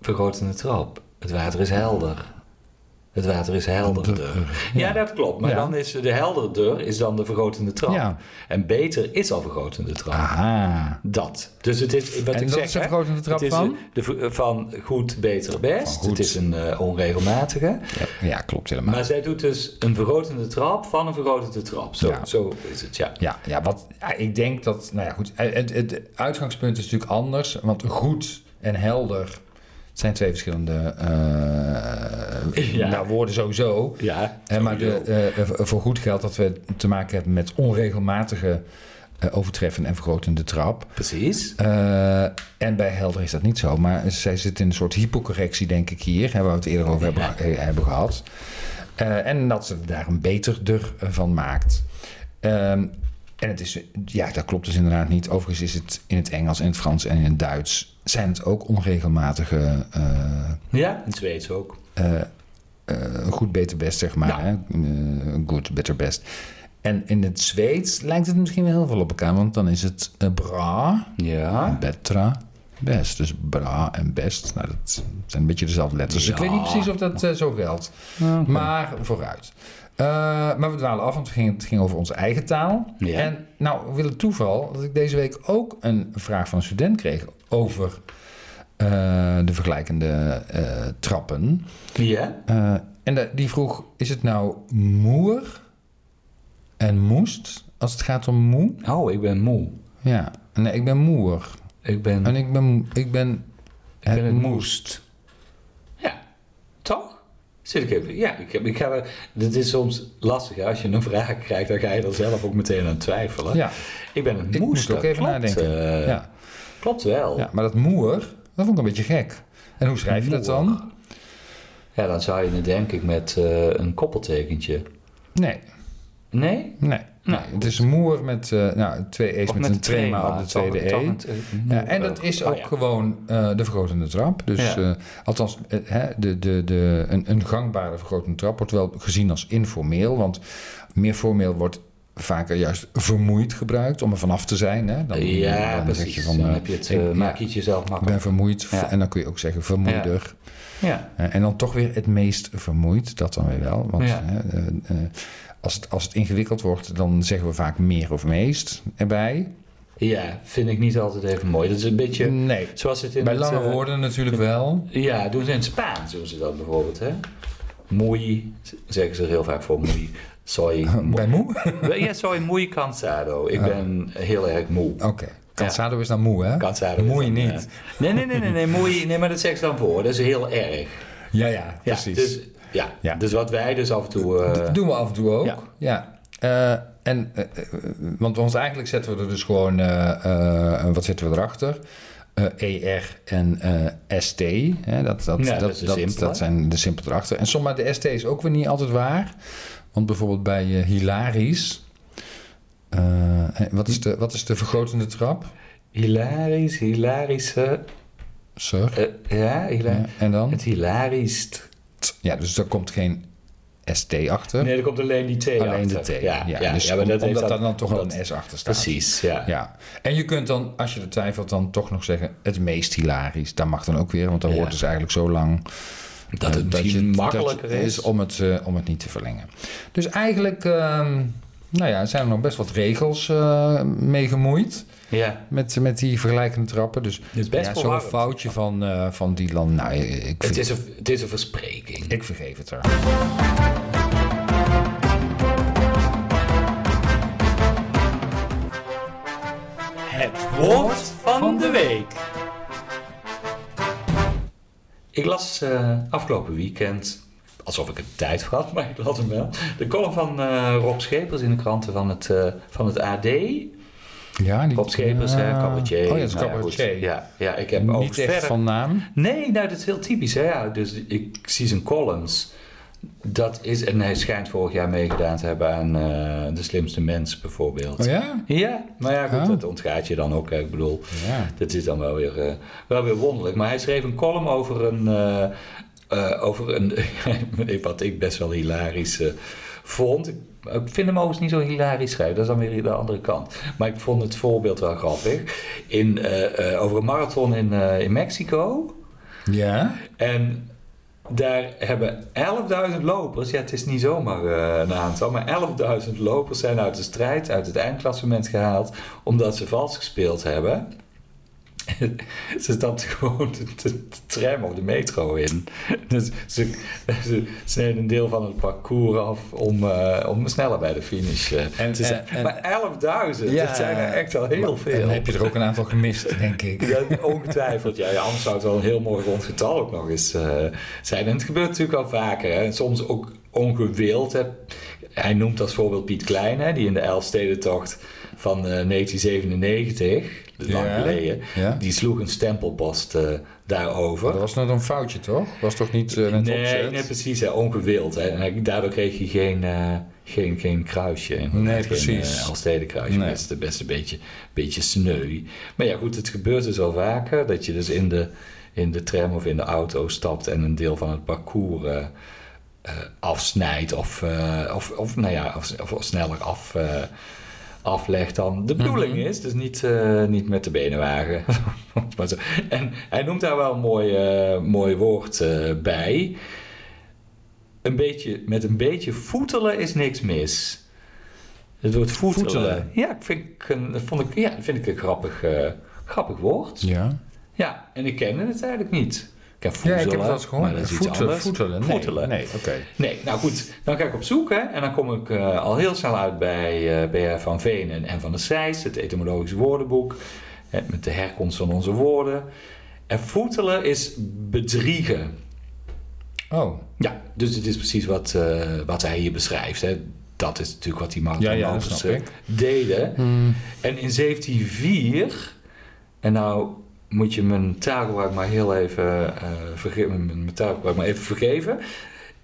S1: vergrotende trap. Het water is helder. Het water is helderder. Ja, dat klopt. Maar
S2: Ja.
S1: dan is de helderder is dan de vergrotende trap.
S2: Ja.
S1: En beter is al vergrotende trap.
S2: Aha.
S1: Dat. Dus het is wat
S2: En
S1: ik
S2: dat
S1: zeg.
S2: is de
S1: hè,
S2: vergrotende trap
S1: het is
S2: van?
S1: een- De, ver- van goed, beter, best.
S2: Van goed. Ah.
S1: Het is een eh, onregelmatige.
S2: Ja, ja, klopt helemaal.
S1: Maar zij doet dus een vergrotende trap van een vergrotende trap. Zo,
S2: Ja.
S1: zo is het, ja.
S2: Ja, ja, wat, ja, ik denk dat, nou ja, goed. eh, Het, het uitgangspunt is natuurlijk anders, want goed en helder zijn twee verschillende eh,
S1: Ja.
S2: nou, woorden sowieso.
S1: Ja,
S2: Hè, maar de,
S1: sowieso.
S2: eh, eh, voor goed geldt dat we te maken hebben met onregelmatige eh overtreffende en vergrotende trap.
S1: Precies.
S2: Eh, en bij helder is dat niet zo, maar zij zit in een soort hypocorrectie, denk ik hier, hè, waar we het eerder over hebben, eh, hebben gehad. Eh, en dat ze er daar een beterder eh, van maakt. Ehm, en het is, ja, dat klopt dus inderdaad niet. Overigens is het in het Engels, in het Frans en in het Duits zijn het ook onregelmatige, eh,
S1: Ja, in het Zweeds ook.
S2: eh, goed, beter, best, zeg maar.
S1: Ja.
S2: Hè? Eh, goed, beter, best. En in het Zweeds lijkt het misschien wel heel veel op elkaar, want dan is het eh, bra,
S1: Ja.
S2: Betra, best. Dus bra en best. Nou, dat zijn een beetje dezelfde letters. Dus ik
S1: Ja.
S2: weet niet precies of dat eh, zo geldt. Maar vooruit. Eh, maar we dwalen af, want het ging, het ging over onze eigen taal.
S1: Ja.
S2: En nou wil het toeval dat ik deze week ook een vraag van een student kreeg over eh, de vergelijkende eh, trappen.
S1: Ja.
S2: Eh, en da- die vroeg, is het nou moer en moest als het gaat om moe?
S1: Oh, ik ben moe.
S2: Ja, nee, ik ben moer.
S1: Ik ben...
S2: En ik ben, ik ben
S1: Hm. Ik ben het moest. Ja, toch? Zit ik even. Ja, ik, heb- ik ga. er- Dit is soms lastig. hè. Als je een vraag krijgt, dan ga je er zelf ook meteen aan twijfelen.
S2: Ja,
S1: Ik ben het
S2: ik
S1: moest.
S2: moest ook
S1: dat
S2: even
S1: klopt,
S2: nadenken.
S1: eh,
S2: ja.
S1: Klopt wel.
S2: ja,
S1: Ja.
S2: maar dat moer, dat vond ik een beetje gek. En hoe schrijf je dat dan?
S1: dan zou je het denk ik met eh, een koppeltekentje.
S2: Nee,
S1: Nee?
S2: nee. Nee, het is moer met eh, nou, twee E's
S1: Nou. Of
S2: met, een trema op de tweede E.
S1: tangent-
S2: Ja, en dat is ook
S1: Ah, ja.
S2: gewoon eh, de vergrotende trap. Dus
S1: Ja.
S2: eh, althans, eh, hè, de, de, de, een, een gangbare vergrotende trap wordt wel gezien als informeel. Want meer formeel wordt vaker juist vermoeid gebruikt om er vanaf te zijn. Hè? Dan,
S1: Ja,
S2: dan zeg
S1: precies.
S2: je van,
S1: dan
S2: eh,
S1: heb je het,
S2: ik-
S1: eh,
S2: ja,
S1: maak je het jezelf
S2: ik
S1: makkelijk.
S2: ben vermoeid.
S1: Ja.
S2: En dan kun je ook zeggen vermoeider.
S1: Ja.
S2: Eh, En dan toch weer het meest vermoeid, dat dan weer wel. Want
S1: Ja.
S2: hè, eh, eh, als, het, als het ingewikkeld wordt, dan zeggen we vaak meer of meest erbij.
S1: ja, vind ik niet altijd even mooi. Dat is een beetje
S2: Nee.
S1: zoals het in
S2: Mm. Bij
S1: het,
S2: lange
S1: eh,
S2: woorden natuurlijk wel.
S1: Ja, doen ze in het Spaans, doen ze dat bijvoorbeeld, hè? Muy, zeggen ze er heel vaak voor muy. Soy,
S2: Bij moe?
S1: ja, soy muy cansado. Ik
S2: Ja.
S1: ben heel erg moe.
S2: Oké. Cansado is dan moe, hè?
S1: Cansado. is
S2: Moei
S1: dan, eh,
S2: niet.
S1: nee, nee, nee, nee, nee, moei, nee, maar dat zeggen ze dan voor. Dat is heel erg.
S2: Ja, ja,
S1: Ja,
S2: precies.
S1: Dus, ja.
S2: Ja.
S1: dus wat wij dus af en toe... eh,
S2: Dat doen we af en toe ook.
S1: Ja.
S2: Ja. Eh, en, eh, eh, want, want eigenlijk zetten we er dus gewoon, eh, eh, wat zetten we erachter? Eh, ER en eh, ST. Hè, dat, dat,
S1: Ja, dat
S2: dat,
S1: is
S2: dat,
S1: de
S2: dat,
S1: simpele.
S2: zijn de simpel erachter. En soms, maar de ST is ook weer niet altijd waar. Want bijvoorbeeld bij eh, Hilarisch. eh, wat, is de, wat is de vergrotende trap?
S1: hilarisch, hilarische...
S2: Sir.
S1: eh, ja, hila-
S2: Ja, en dan?
S1: Het hilarisch.
S2: Ja, dus daar komt geen ST achter.
S1: Nee, er komt alleen die T
S2: alleen de T.
S1: achter.
S2: Ja,
S1: ja,
S2: dus
S1: ja, maar dat
S2: om-
S1: heeft
S2: omdat daar
S1: dat-
S2: dan toch wel
S1: dat-
S2: een S achter staat.
S1: Precies, ja.
S2: Ja, en je kunt dan, als je er twijfelt, dan toch nog zeggen het meest hilarisch. Dat mag dan ook weer, want dan
S1: Ja.
S2: wordt het eigenlijk zo lang
S1: Dat
S2: eh,
S1: het misschien
S2: dat
S1: makkelijker
S2: het
S1: is.
S2: om het, eh, om het niet te verlengen. Dus eigenlijk, ehm, nou ja, zijn er nog best wat regels eh mee gemoeid
S1: Ja.
S2: met, met die vergelijkende trappen. Dus
S1: is best
S2: ja, zo'n
S1: verwarrend.
S2: foutje van, eh van Dylan, nou, eh, ik,
S1: Het
S2: vind,
S1: is een, het is een verspreking.
S2: ik vergeef het haar.
S1: Het woord van de week. Ik las eh, afgelopen weekend, alsof ik er tijd voor had, maar ik las hem wel. De column van eh, Rob Schepers in de kranten van het, eh, van het AD.
S2: Ja, die,
S1: Rob Schepers, hè,
S2: ja.
S1: cabaretier.
S2: Oh ja, het is
S1: Nou
S2: cabaretier.
S1: goed. Ja, ja, ik heb ook
S2: Niet echt
S1: verder...
S2: van naam.
S1: Nee, nou, dat is heel typisch. Hè? Ja, dus ik zie zijn columns. Dat is, en hij schijnt vorig jaar meegedaan te hebben aan eh, De Slimste Mens bijvoorbeeld.
S2: Oh ja?
S1: Ja, maar ja, goed,
S2: Oh.
S1: dat ontgaat je dan ook. hè. Ik bedoel,
S2: Ja.
S1: dat is dan wel weer, eh, wel weer wonderlijk. Maar hij schreef een column over een. eh, eh, over een wat ik best wel hilarisch eh, vond. Ik ik vind hem overigens niet zo hilarisch schrijven, dat is dan weer de andere kant. Maar ik vond het voorbeeld wel grappig. In, eh, eh, over een marathon in, eh, in Mexico.
S2: Ja?
S1: En daar hebben 11.000 lopers, ja het is niet zomaar eh, een aantal, maar 11.000 lopers zijn uit de strijd, uit het eindklassement gehaald, omdat ze vals gespeeld hebben. ze stapten gewoon de, de- de tram of de metro in. Dus ze, ze, ze deden een deel van het parcours af om, eh, om sneller bij de finish eh,
S2: En-
S1: te zijn.
S2: en- en-
S1: maar 11.000,
S2: Ja,
S1: dat zijn er echt al heel
S2: Maar-
S1: veel.
S2: En heb je er ook een aantal gemist, denk ik.
S1: Ja, ongetwijfeld. Ja, ja, anders zou het wel een heel mooi rond getal ook nog eens eh, zijn. En het gebeurt natuurlijk wel vaker. Hè. En soms ook ongewild. Hè. Hij noemt als voorbeeld Piet Klein, hè, die in de Elfstedentocht van eh, 1997, lang
S2: Ja,
S1: geleden,
S2: ja.
S1: die sloeg een stempelpost eh, daarover.
S2: Dat was net een foutje, toch? Was toch niet eh, met
S1: Nee,
S2: opzet?
S1: nee, precies, hè, ongewild. Hè. En hij- daardoor kreeg hij geen, eh, geen, geen kruisje. inderdaad.
S2: Nee,
S1: geen,
S2: precies.
S1: eh, Elfstedenkruisje,
S2: Nee.
S1: dat is de best een beetje, beetje sneu. Maar ja, goed, het gebeurt dus al vaker dat je dus in de, in de tram of in de auto stapt en een deel van het parcours eh, eh, afsnijdt of, eh, of, of, nou ja, of, of, sneller af. eh, aflegt dan
S2: Mhm.
S1: de bedoeling is. Dus niet, eh, niet met de benen wagen. Maar zo. en hij noemt daar wel een mooi, eh, mooi woord eh, bij. Een beetje, met een beetje voetelen is niks mis. Het woord voetelen.
S2: Voetelen.
S1: Ja, ik vind ik een, dat vond ik, ja, dat vind ik een grappig, eh, grappig woord.
S2: Ja.
S1: Ja, en ik kende het eigenlijk niet. Ik heb
S2: ja,
S1: voetelen,
S2: ik heb dat eens gehoord.
S1: maar dat is iets
S2: voetelen,
S1: anders.
S2: voetelen. Nee,
S1: Voetelen.
S2: nee oké.
S1: Nee, nou goed, dan ga ik op zoek hè, en dan kom ik eh, al heel snel uit bij eh bij Van Veen en, en Van der Sijs, het etymologisch woordenboek, hè, met de herkomst van onze woorden. En voetelen is bedriegen.
S2: Oh,
S1: Ja, dus het is precies wat, eh, wat hij hier beschrijft. Hè. Dat is natuurlijk wat die
S2: ja, ja, dat
S1: marathonlopers
S2: snap
S1: eh,
S2: ik.
S1: deden. En in 1704, en nou moet je mijn taalgebruik maar heel even, eh verge- mijn- mijn taalgebruik maar even vergeven.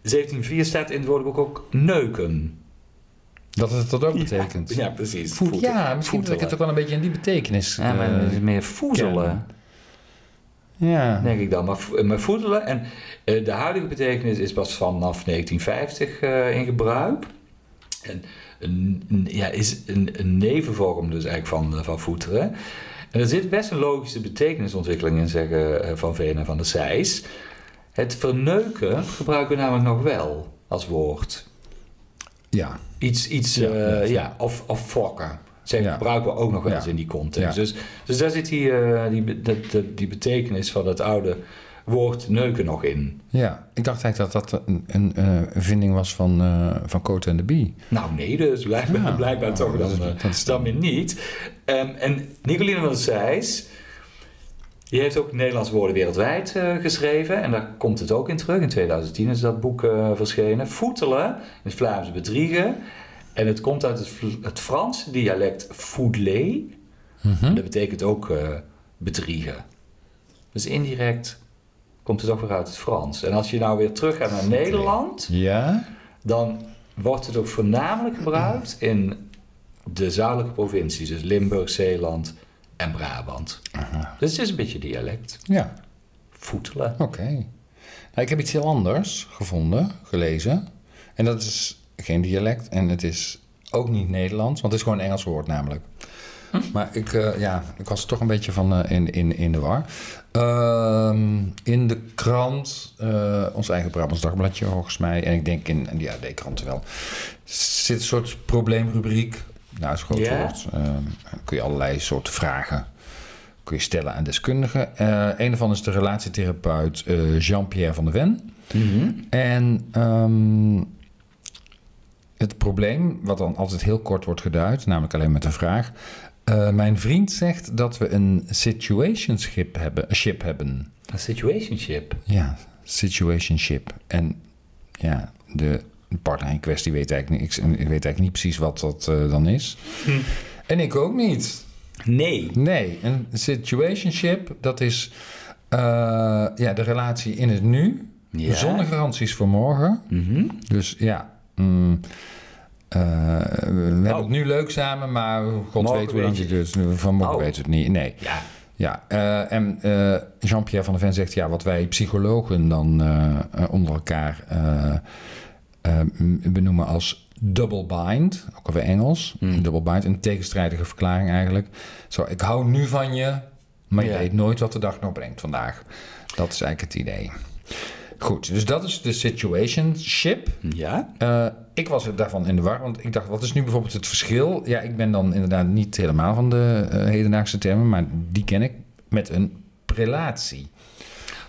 S1: 1704 staat in het woordenboek ook neuken.
S2: Dat het dat ook betekent.
S1: Ja, precies.
S2: Voet-
S1: Voeten.
S2: ja, misschien dat ik het ook wel een beetje in die betekenis.
S1: Ja, maar
S2: eh,
S1: het is meer voezelen,
S2: kennen. ja.
S1: denk ik dan. Maar, vo- maar voedelen en eh, de huidige betekenis is pas vanaf 1950 eh, in gebruik. En een, een- ja, is een, een nevenvorm dus eigenlijk van, eh, van voeteren. En er zit best een logische betekenisontwikkeling in, zeggen eh, Van Veen en Van der Zijs. Het verneuken gebruiken we namelijk nog wel als woord.
S2: ja.
S1: Iets, iets eh,
S2: Ja,
S1: ja,
S2: ja.
S1: ja of, of fokken. Zeg,
S2: Ja.
S1: gebruiken we ook nog wel eens
S2: Ja.
S1: in die context.
S2: Ja.
S1: Dus, dus daar zit die, eh, die, be- dat- dat- die betekenis van het oude woord neuken nog in.
S2: Ja, ik dacht eigenlijk dat dat een, een, eh, een vinding was van, eh van Cote en de Bie.
S1: Nou nee, dus blijkbaar,
S2: Ja.
S1: blijkbaar
S2: Ja,
S1: toch
S2: dat
S1: dan,
S2: is- dus
S1: eh,
S2: dat is
S1: dan weer niet. Ehm, en Nicoline van der Zijs, die heeft ook Nederlandse woorden wereldwijd eh, geschreven. En daar komt het ook in terug. In 2010 is dat boek eh, verschenen. Voetelen, in het Vlaams bedriegen. En het komt uit het, Vl- het Franse dialect foudlé.
S2: Hm? Mhm.
S1: En dat betekent ook eh, bedriegen. Dus indirect komt het ook weer uit het Frans. En als je nou weer teruggaat naar Nederland,
S2: Ja?
S1: dan wordt het ook voornamelijk gebruikt
S2: Hm.
S1: in de zuidelijke provincies. Dus Limburg, Zeeland en Brabant. Dus het is een beetje dialect.
S2: Ja,
S1: Voetelen.
S2: oké. Nou, ik heb iets heel anders gevonden, gelezen. En dat is geen dialect en het is ook niet Nederlands, want het is gewoon een Engels woord namelijk. Maar ik, eh, ja, ik was er toch een beetje van eh, in, in, in de war. Ehm, in de krant, eh, ons eigen Brabants Dagbladje volgens mij, en ik denk in, in de AD-kranten wel, zit een soort probleemrubriek. Nou, is een groot
S1: Ja?
S2: woord. Ehm, dan kun je allerlei soorten vragen kun je stellen aan deskundigen. Eh een van is de relatietherapeut eh, Jean-Pierre van der Ven. En ehm, het probleem, wat dan altijd heel kort wordt geduid, namelijk alleen met een vraag. eh, mijn vriend zegt dat we een situationship hebben. Ship hebben.
S1: Een situationship.
S2: Ja, situationship. En ja, de partner in kwestie weet eigenlijk, niks, en weet eigenlijk niet precies wat dat eh, dan is. En ik ook niet.
S1: Nee.
S2: Nee, een situationship, dat is eh, ja, de relatie in het nu.
S1: Ja.
S2: Zonder garanties voor morgen.
S1: Mhm.
S2: Dus ja, mm, eh, we hebben
S1: Oh.
S2: het nu leuk samen, maar god
S1: Morgen
S2: weet hoe lang
S1: weet
S2: het duurt. Van morgen
S1: Oh.
S2: weet het niet. Nee.
S1: Ja.
S2: Ja, eh, en eh, Jean-Pierre van der Ven zegt ja, wat wij psychologen dan eh, eh, onder elkaar eh, eh, m- benoemen als double bind, ook alweer Engels, double bind, een tegenstrijdige verklaring eigenlijk. Zo, ik hou nu van je, maar je
S1: Ja.
S2: weet nooit wat de dag nog brengt vandaag. Dat is eigenlijk het idee. Goed, dus dat is de situationship.
S1: Ja.
S2: Eh, ik was er daarvan in de war, want ik dacht, wat is nu bijvoorbeeld het verschil? Ja, ik ben dan inderdaad niet helemaal van de eh, hedendaagse termen, maar die ken ik met een prelatie.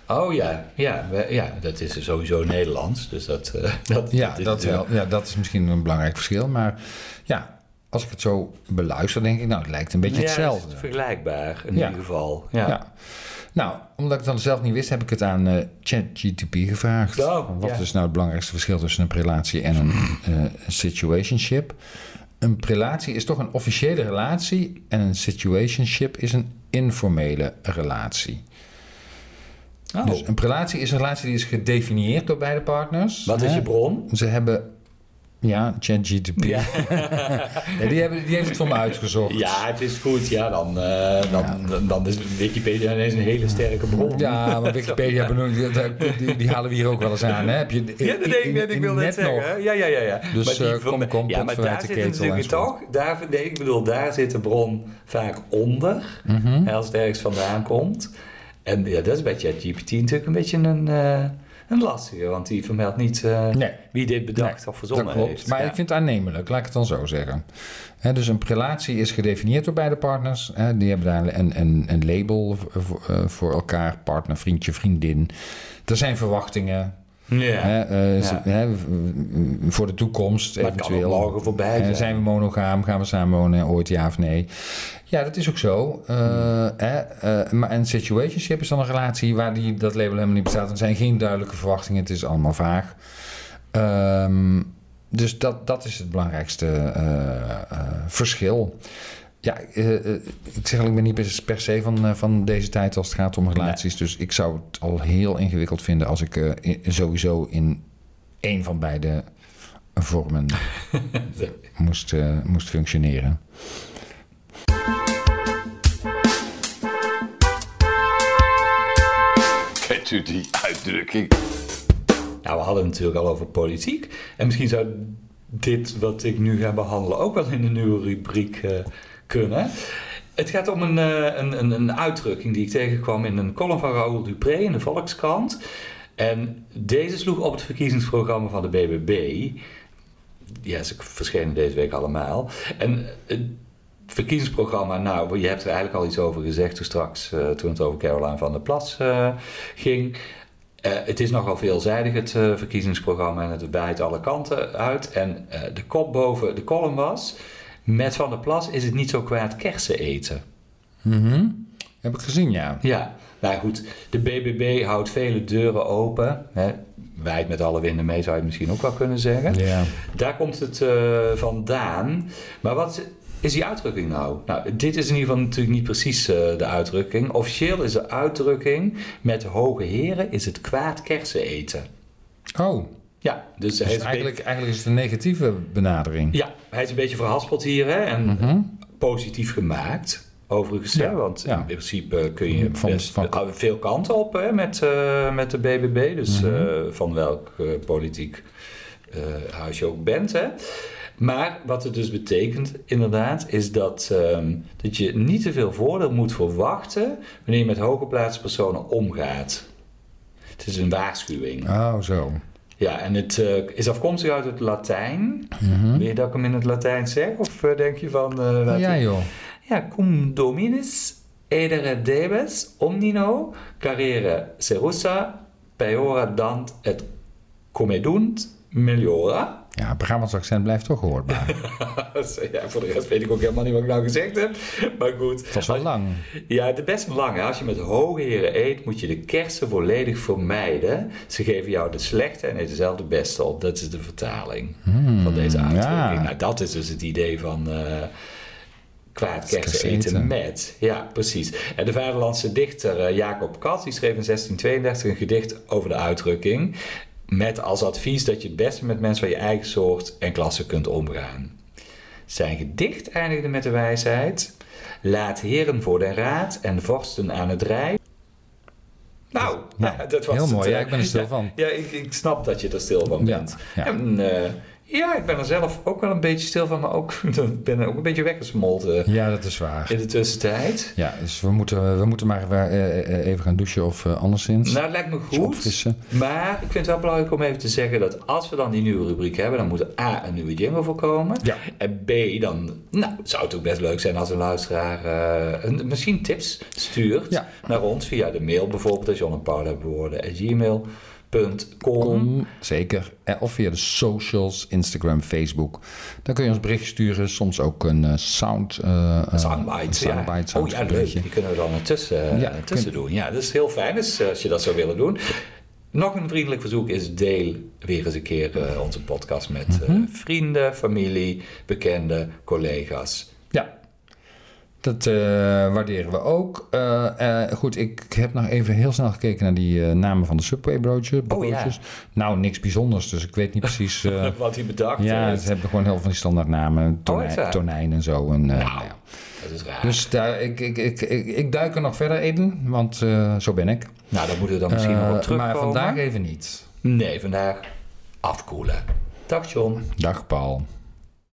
S1: Oh ja. Ja, we- ja, dat is sowieso Nederlands. Dus dat, eh, dat,
S2: Ja,
S1: is
S2: dat, wel,
S1: natuurlijk-
S2: ja, dat is misschien een belangrijk verschil, maar ja, als ik het zo beluister, denk ik, nou, het lijkt een beetje
S1: Ja,
S2: hetzelfde.
S1: het is vergelijkbaar in
S2: Ja.
S1: ieder geval. Ja.
S2: ja. Nou, omdat ik het dan zelf niet wist, heb ik het aan eh, ChatGTP gevraagd.
S1: Oh,
S2: Van wat
S1: ja.
S2: is nou het belangrijkste verschil tussen een prelatie en een eh, situationship? Een prelatie is toch een officiële relatie en een situationship is een informele relatie.
S1: Oh,
S2: Dus een prelatie is een relatie die is gedefinieerd door beide partners.
S1: wat is
S2: Hè?
S1: je bron?
S2: Ze hebben, ja, ChatGTP. Nee, die, hebben, die heeft het voor me uitgezocht.
S1: Ja, het is goed. Ja, dan, eh, dan, dan, dan is Wikipedia ineens een hele sterke bron.
S2: Ja, maar Wikipedia benoemd, die, die, die halen we hier ook wel eens aan. Hè? Heb je,
S1: Ja, dat
S2: in-
S1: denk ik
S2: in-
S1: net. Ik
S2: in
S1: wil net
S2: net nog.
S1: zeggen. Ja, ja, ja, ja.
S2: Dus,
S1: die
S2: eh, kom, kom,
S1: ja,
S2: pot
S1: maar
S2: vanuit
S1: daar
S2: de
S1: zit
S2: ketel
S1: natuurlijk
S2: enzovoort.
S1: toch... Daar, nee, ik bedoel, daar zit de bron vaak onder.
S2: Mhm.
S1: hè, Als het ergens vandaan komt. En ja, dat is bij ChatGPT natuurlijk een beetje een, eh, een lastige. Want die vermeldt niet eh,
S2: Nee.
S1: wie dit bedacht
S2: Nee,
S1: of verzonnen
S2: dat klopt.
S1: heeft.
S2: Maar
S1: Ja.
S2: ik vind het aannemelijk, laat ik het dan zo zeggen. Hè, dus een prelatie is gedefinieerd door beide partners. Hè, die hebben daar een, een, een label v- voor, eh, voor elkaar: partner, vriendje, vriendin. Er zijn verwachtingen.
S1: Ja.
S2: Hè, eh, ze-
S1: Ja.
S2: hè, v- m- voor de toekomst
S1: Maar het kan
S2: eventueel.
S1: ook morgen voorbij
S2: Hè,
S1: zijn.
S2: zijn we monogaam? Gaan we samen wonen? Ooit ja of nee? Ja, dat is ook zo. Eh, hè, eh, maar een situationship is dan een relatie waar die, dat label helemaal niet bestaat. Er zijn geen duidelijke verwachtingen. Het is allemaal vaag. Ehm, dus dat, dat is het belangrijkste eh, eh, verschil. Ja, eh, eh, ik zeg al, ik ben niet per- per se van, eh, van deze tijd als het gaat om relaties. Dus ik zou het al heel ingewikkeld vinden als ik eh, in- sowieso in één van beide vormen moest, eh, moest functioneren.
S4: Kent u die uitdrukking?
S1: Nou, we hadden het natuurlijk al over politiek. En misschien zou dit wat ik nu ga behandelen ook wel in de nieuwe rubriek eh, kunnen. Het gaat om een, eh, een, een, een uitdrukking die ik tegenkwam in een column van Raoul Dupré in de Volkskrant. En deze sloeg op het verkiezingsprogramma van de BBB. Ja, ze verschenen deze week allemaal. En het verkiezingsprogramma, nou, je hebt er eigenlijk al iets over gezegd toen straks, eh, toen het over Caroline van der Plas eh, ging. Eh, het is nogal veelzijdig, het eh, verkiezingsprogramma, en het bijt alle kanten uit. En eh, de kop boven de column was: Met Van der Plas is het niet zo kwaad kersen eten.
S2: Mhm. Heb ik gezien, ja.
S1: Ja, nou goed, de BBB houdt vele deuren open. Hè. Wijd met alle winden mee, zou je misschien ook wel kunnen zeggen.
S2: Ja.
S1: Daar komt het eh, vandaan. Maar wat is die uitdrukking nou? Nou, dit is in ieder geval natuurlijk niet precies eh, de uitdrukking. Officieel is de uitdrukking: Met hoge heren is het kwaad kersen eten.
S2: Oh,
S1: Ja, dus, hij
S2: dus
S1: is een
S2: eigenlijk, eigenlijk is het een negatieve benadering.
S1: Ja, hij is een beetje verhaspeld hier hè? en
S2: Mhm.
S1: positief gemaakt. Overigens,
S2: Ja,
S1: hè, want
S2: ja.
S1: in principe kun je
S2: Van-
S1: best
S2: van-
S1: eh, veel kanten op hè, met, eh, met de BBB. Dus
S2: Mhm.
S1: eh, van welk eh, politiek eh, huis je ook bent. Hè. Maar wat het dus betekent, inderdaad, is dat, ehm, dat je niet te veel voordeel moet verwachten wanneer je met hooggeplaatste personen omgaat. Het is een waarschuwing.
S2: Oh, zo.
S1: Ja, en het eh, is afkomstig uit het Latijn. Wil je dat ik hem in het Latijn zeg? Of eh, denk je van... eh, laat
S2: Mhm. Oh, Ja,
S1: ik-
S2: joh.
S1: ja, cum dominis edere debes omnino carrere serussa peora dant et comedunt meliora.
S2: Ja, Brabants accent blijft toch hoorbaar.
S1: ja, voor de rest weet ik ook helemaal niet wat ik nou gezegd heb. Maar goed.
S2: Het was wel lang.
S1: Ja, het is best lang. hè. Als je met hoogheren eet, moet je de kersen volledig vermijden. Ze geven jou de slechte en eten zelf de beste op. Dat is de vertaling van deze uitdrukking.
S2: Hmm, ja.
S1: Nou, dat is dus het idee van eh kwaad kersen
S2: Kersen
S1: eten
S2: eten.
S1: met. Ja, precies. En de vaderlandse dichter eh, Jacob Katz, die schreef in 1632 een gedicht over de uitdrukking. Met als advies dat je het beste met mensen van je eigen soort en klasse kunt omgaan. Zijn gedicht eindigde met de wijsheid: Laat heren voor de raad en vorsten aan het rij. Nou,
S2: Nou,
S1: ja, dat was
S2: heel
S1: het,
S2: mooi.
S1: eh.
S2: Ja, ik ben er stil
S1: Ja,
S2: van.
S1: Ja, ik, ik snap dat je er stil van
S2: Ja,
S1: bent.
S2: ja.
S1: En, eh, ja, ik ben er zelf ook wel een beetje stil van, maar ook ik ben er ook een beetje weggesmolten
S2: Ja, dat is waar.
S1: in de tussentijd.
S2: Ja, dus we moeten, we moeten maar eh, eh, even gaan douchen of eh, anderszins.
S1: Nou, het lijkt me
S2: Eens
S1: goed.
S2: opfrissen.
S1: Maar ik vind het wel belangrijk om even te zeggen dat als we dan die nieuwe rubriek hebben, dan moet er A, een nieuwe jingle voorkomen.
S2: Ja.
S1: En B, dan nou, zou het ook best leuk zijn als een luisteraar eh, een, misschien tips stuurt
S2: Ja.
S1: naar ons via de mail bijvoorbeeld, John en Paul hebben woorden, gmail.com.
S2: Kom, zeker. Eh, Of via de socials, Instagram, Facebook. Dan kun je ons bericht sturen. Soms ook een eh, sound... eh, eh,
S1: Soundbite,
S2: een
S1: ja. Oh
S2: soundbite,
S1: ja, leuk.
S2: soundberichtje.
S1: Die kunnen we dan ertussen,
S2: Ja,
S1: ertussen doen. Ja, dat is heel fijn dus, eh, als je dat zou willen doen. Nog een vriendelijk verzoek is deel weer eens een keer eh, onze podcast met eh,
S2: Mhm.
S1: vrienden, familie, bekenden, collega's.
S2: Ja, dat eh, waarderen we ook. Eh, eh, goed, ik heb nog even heel snel gekeken naar die eh, namen van de Subway broodje- broodjes. Nou, niks bijzonders, dus ik weet niet precies... eh,
S1: Oh, Wat Oh, hij bedacht
S2: ja,
S1: heeft.
S2: ze hebben gewoon heel veel van die standaard namen.
S1: echt
S2: Tonijn,
S1: waar?
S2: tonijn en zo. En, eh,
S1: Nou.
S2: ja.
S1: dat is raar.
S2: Dus daar, ik, ik, ik, ik, ik duik er nog verder in, want eh, zo ben ik.
S1: nou, daar moeten we dan misschien nog
S2: Eh,
S1: op terugkomen.
S2: maar vandaag even niet.
S1: Nee, vandaag afkoelen. Dag John.
S2: Dag Paul.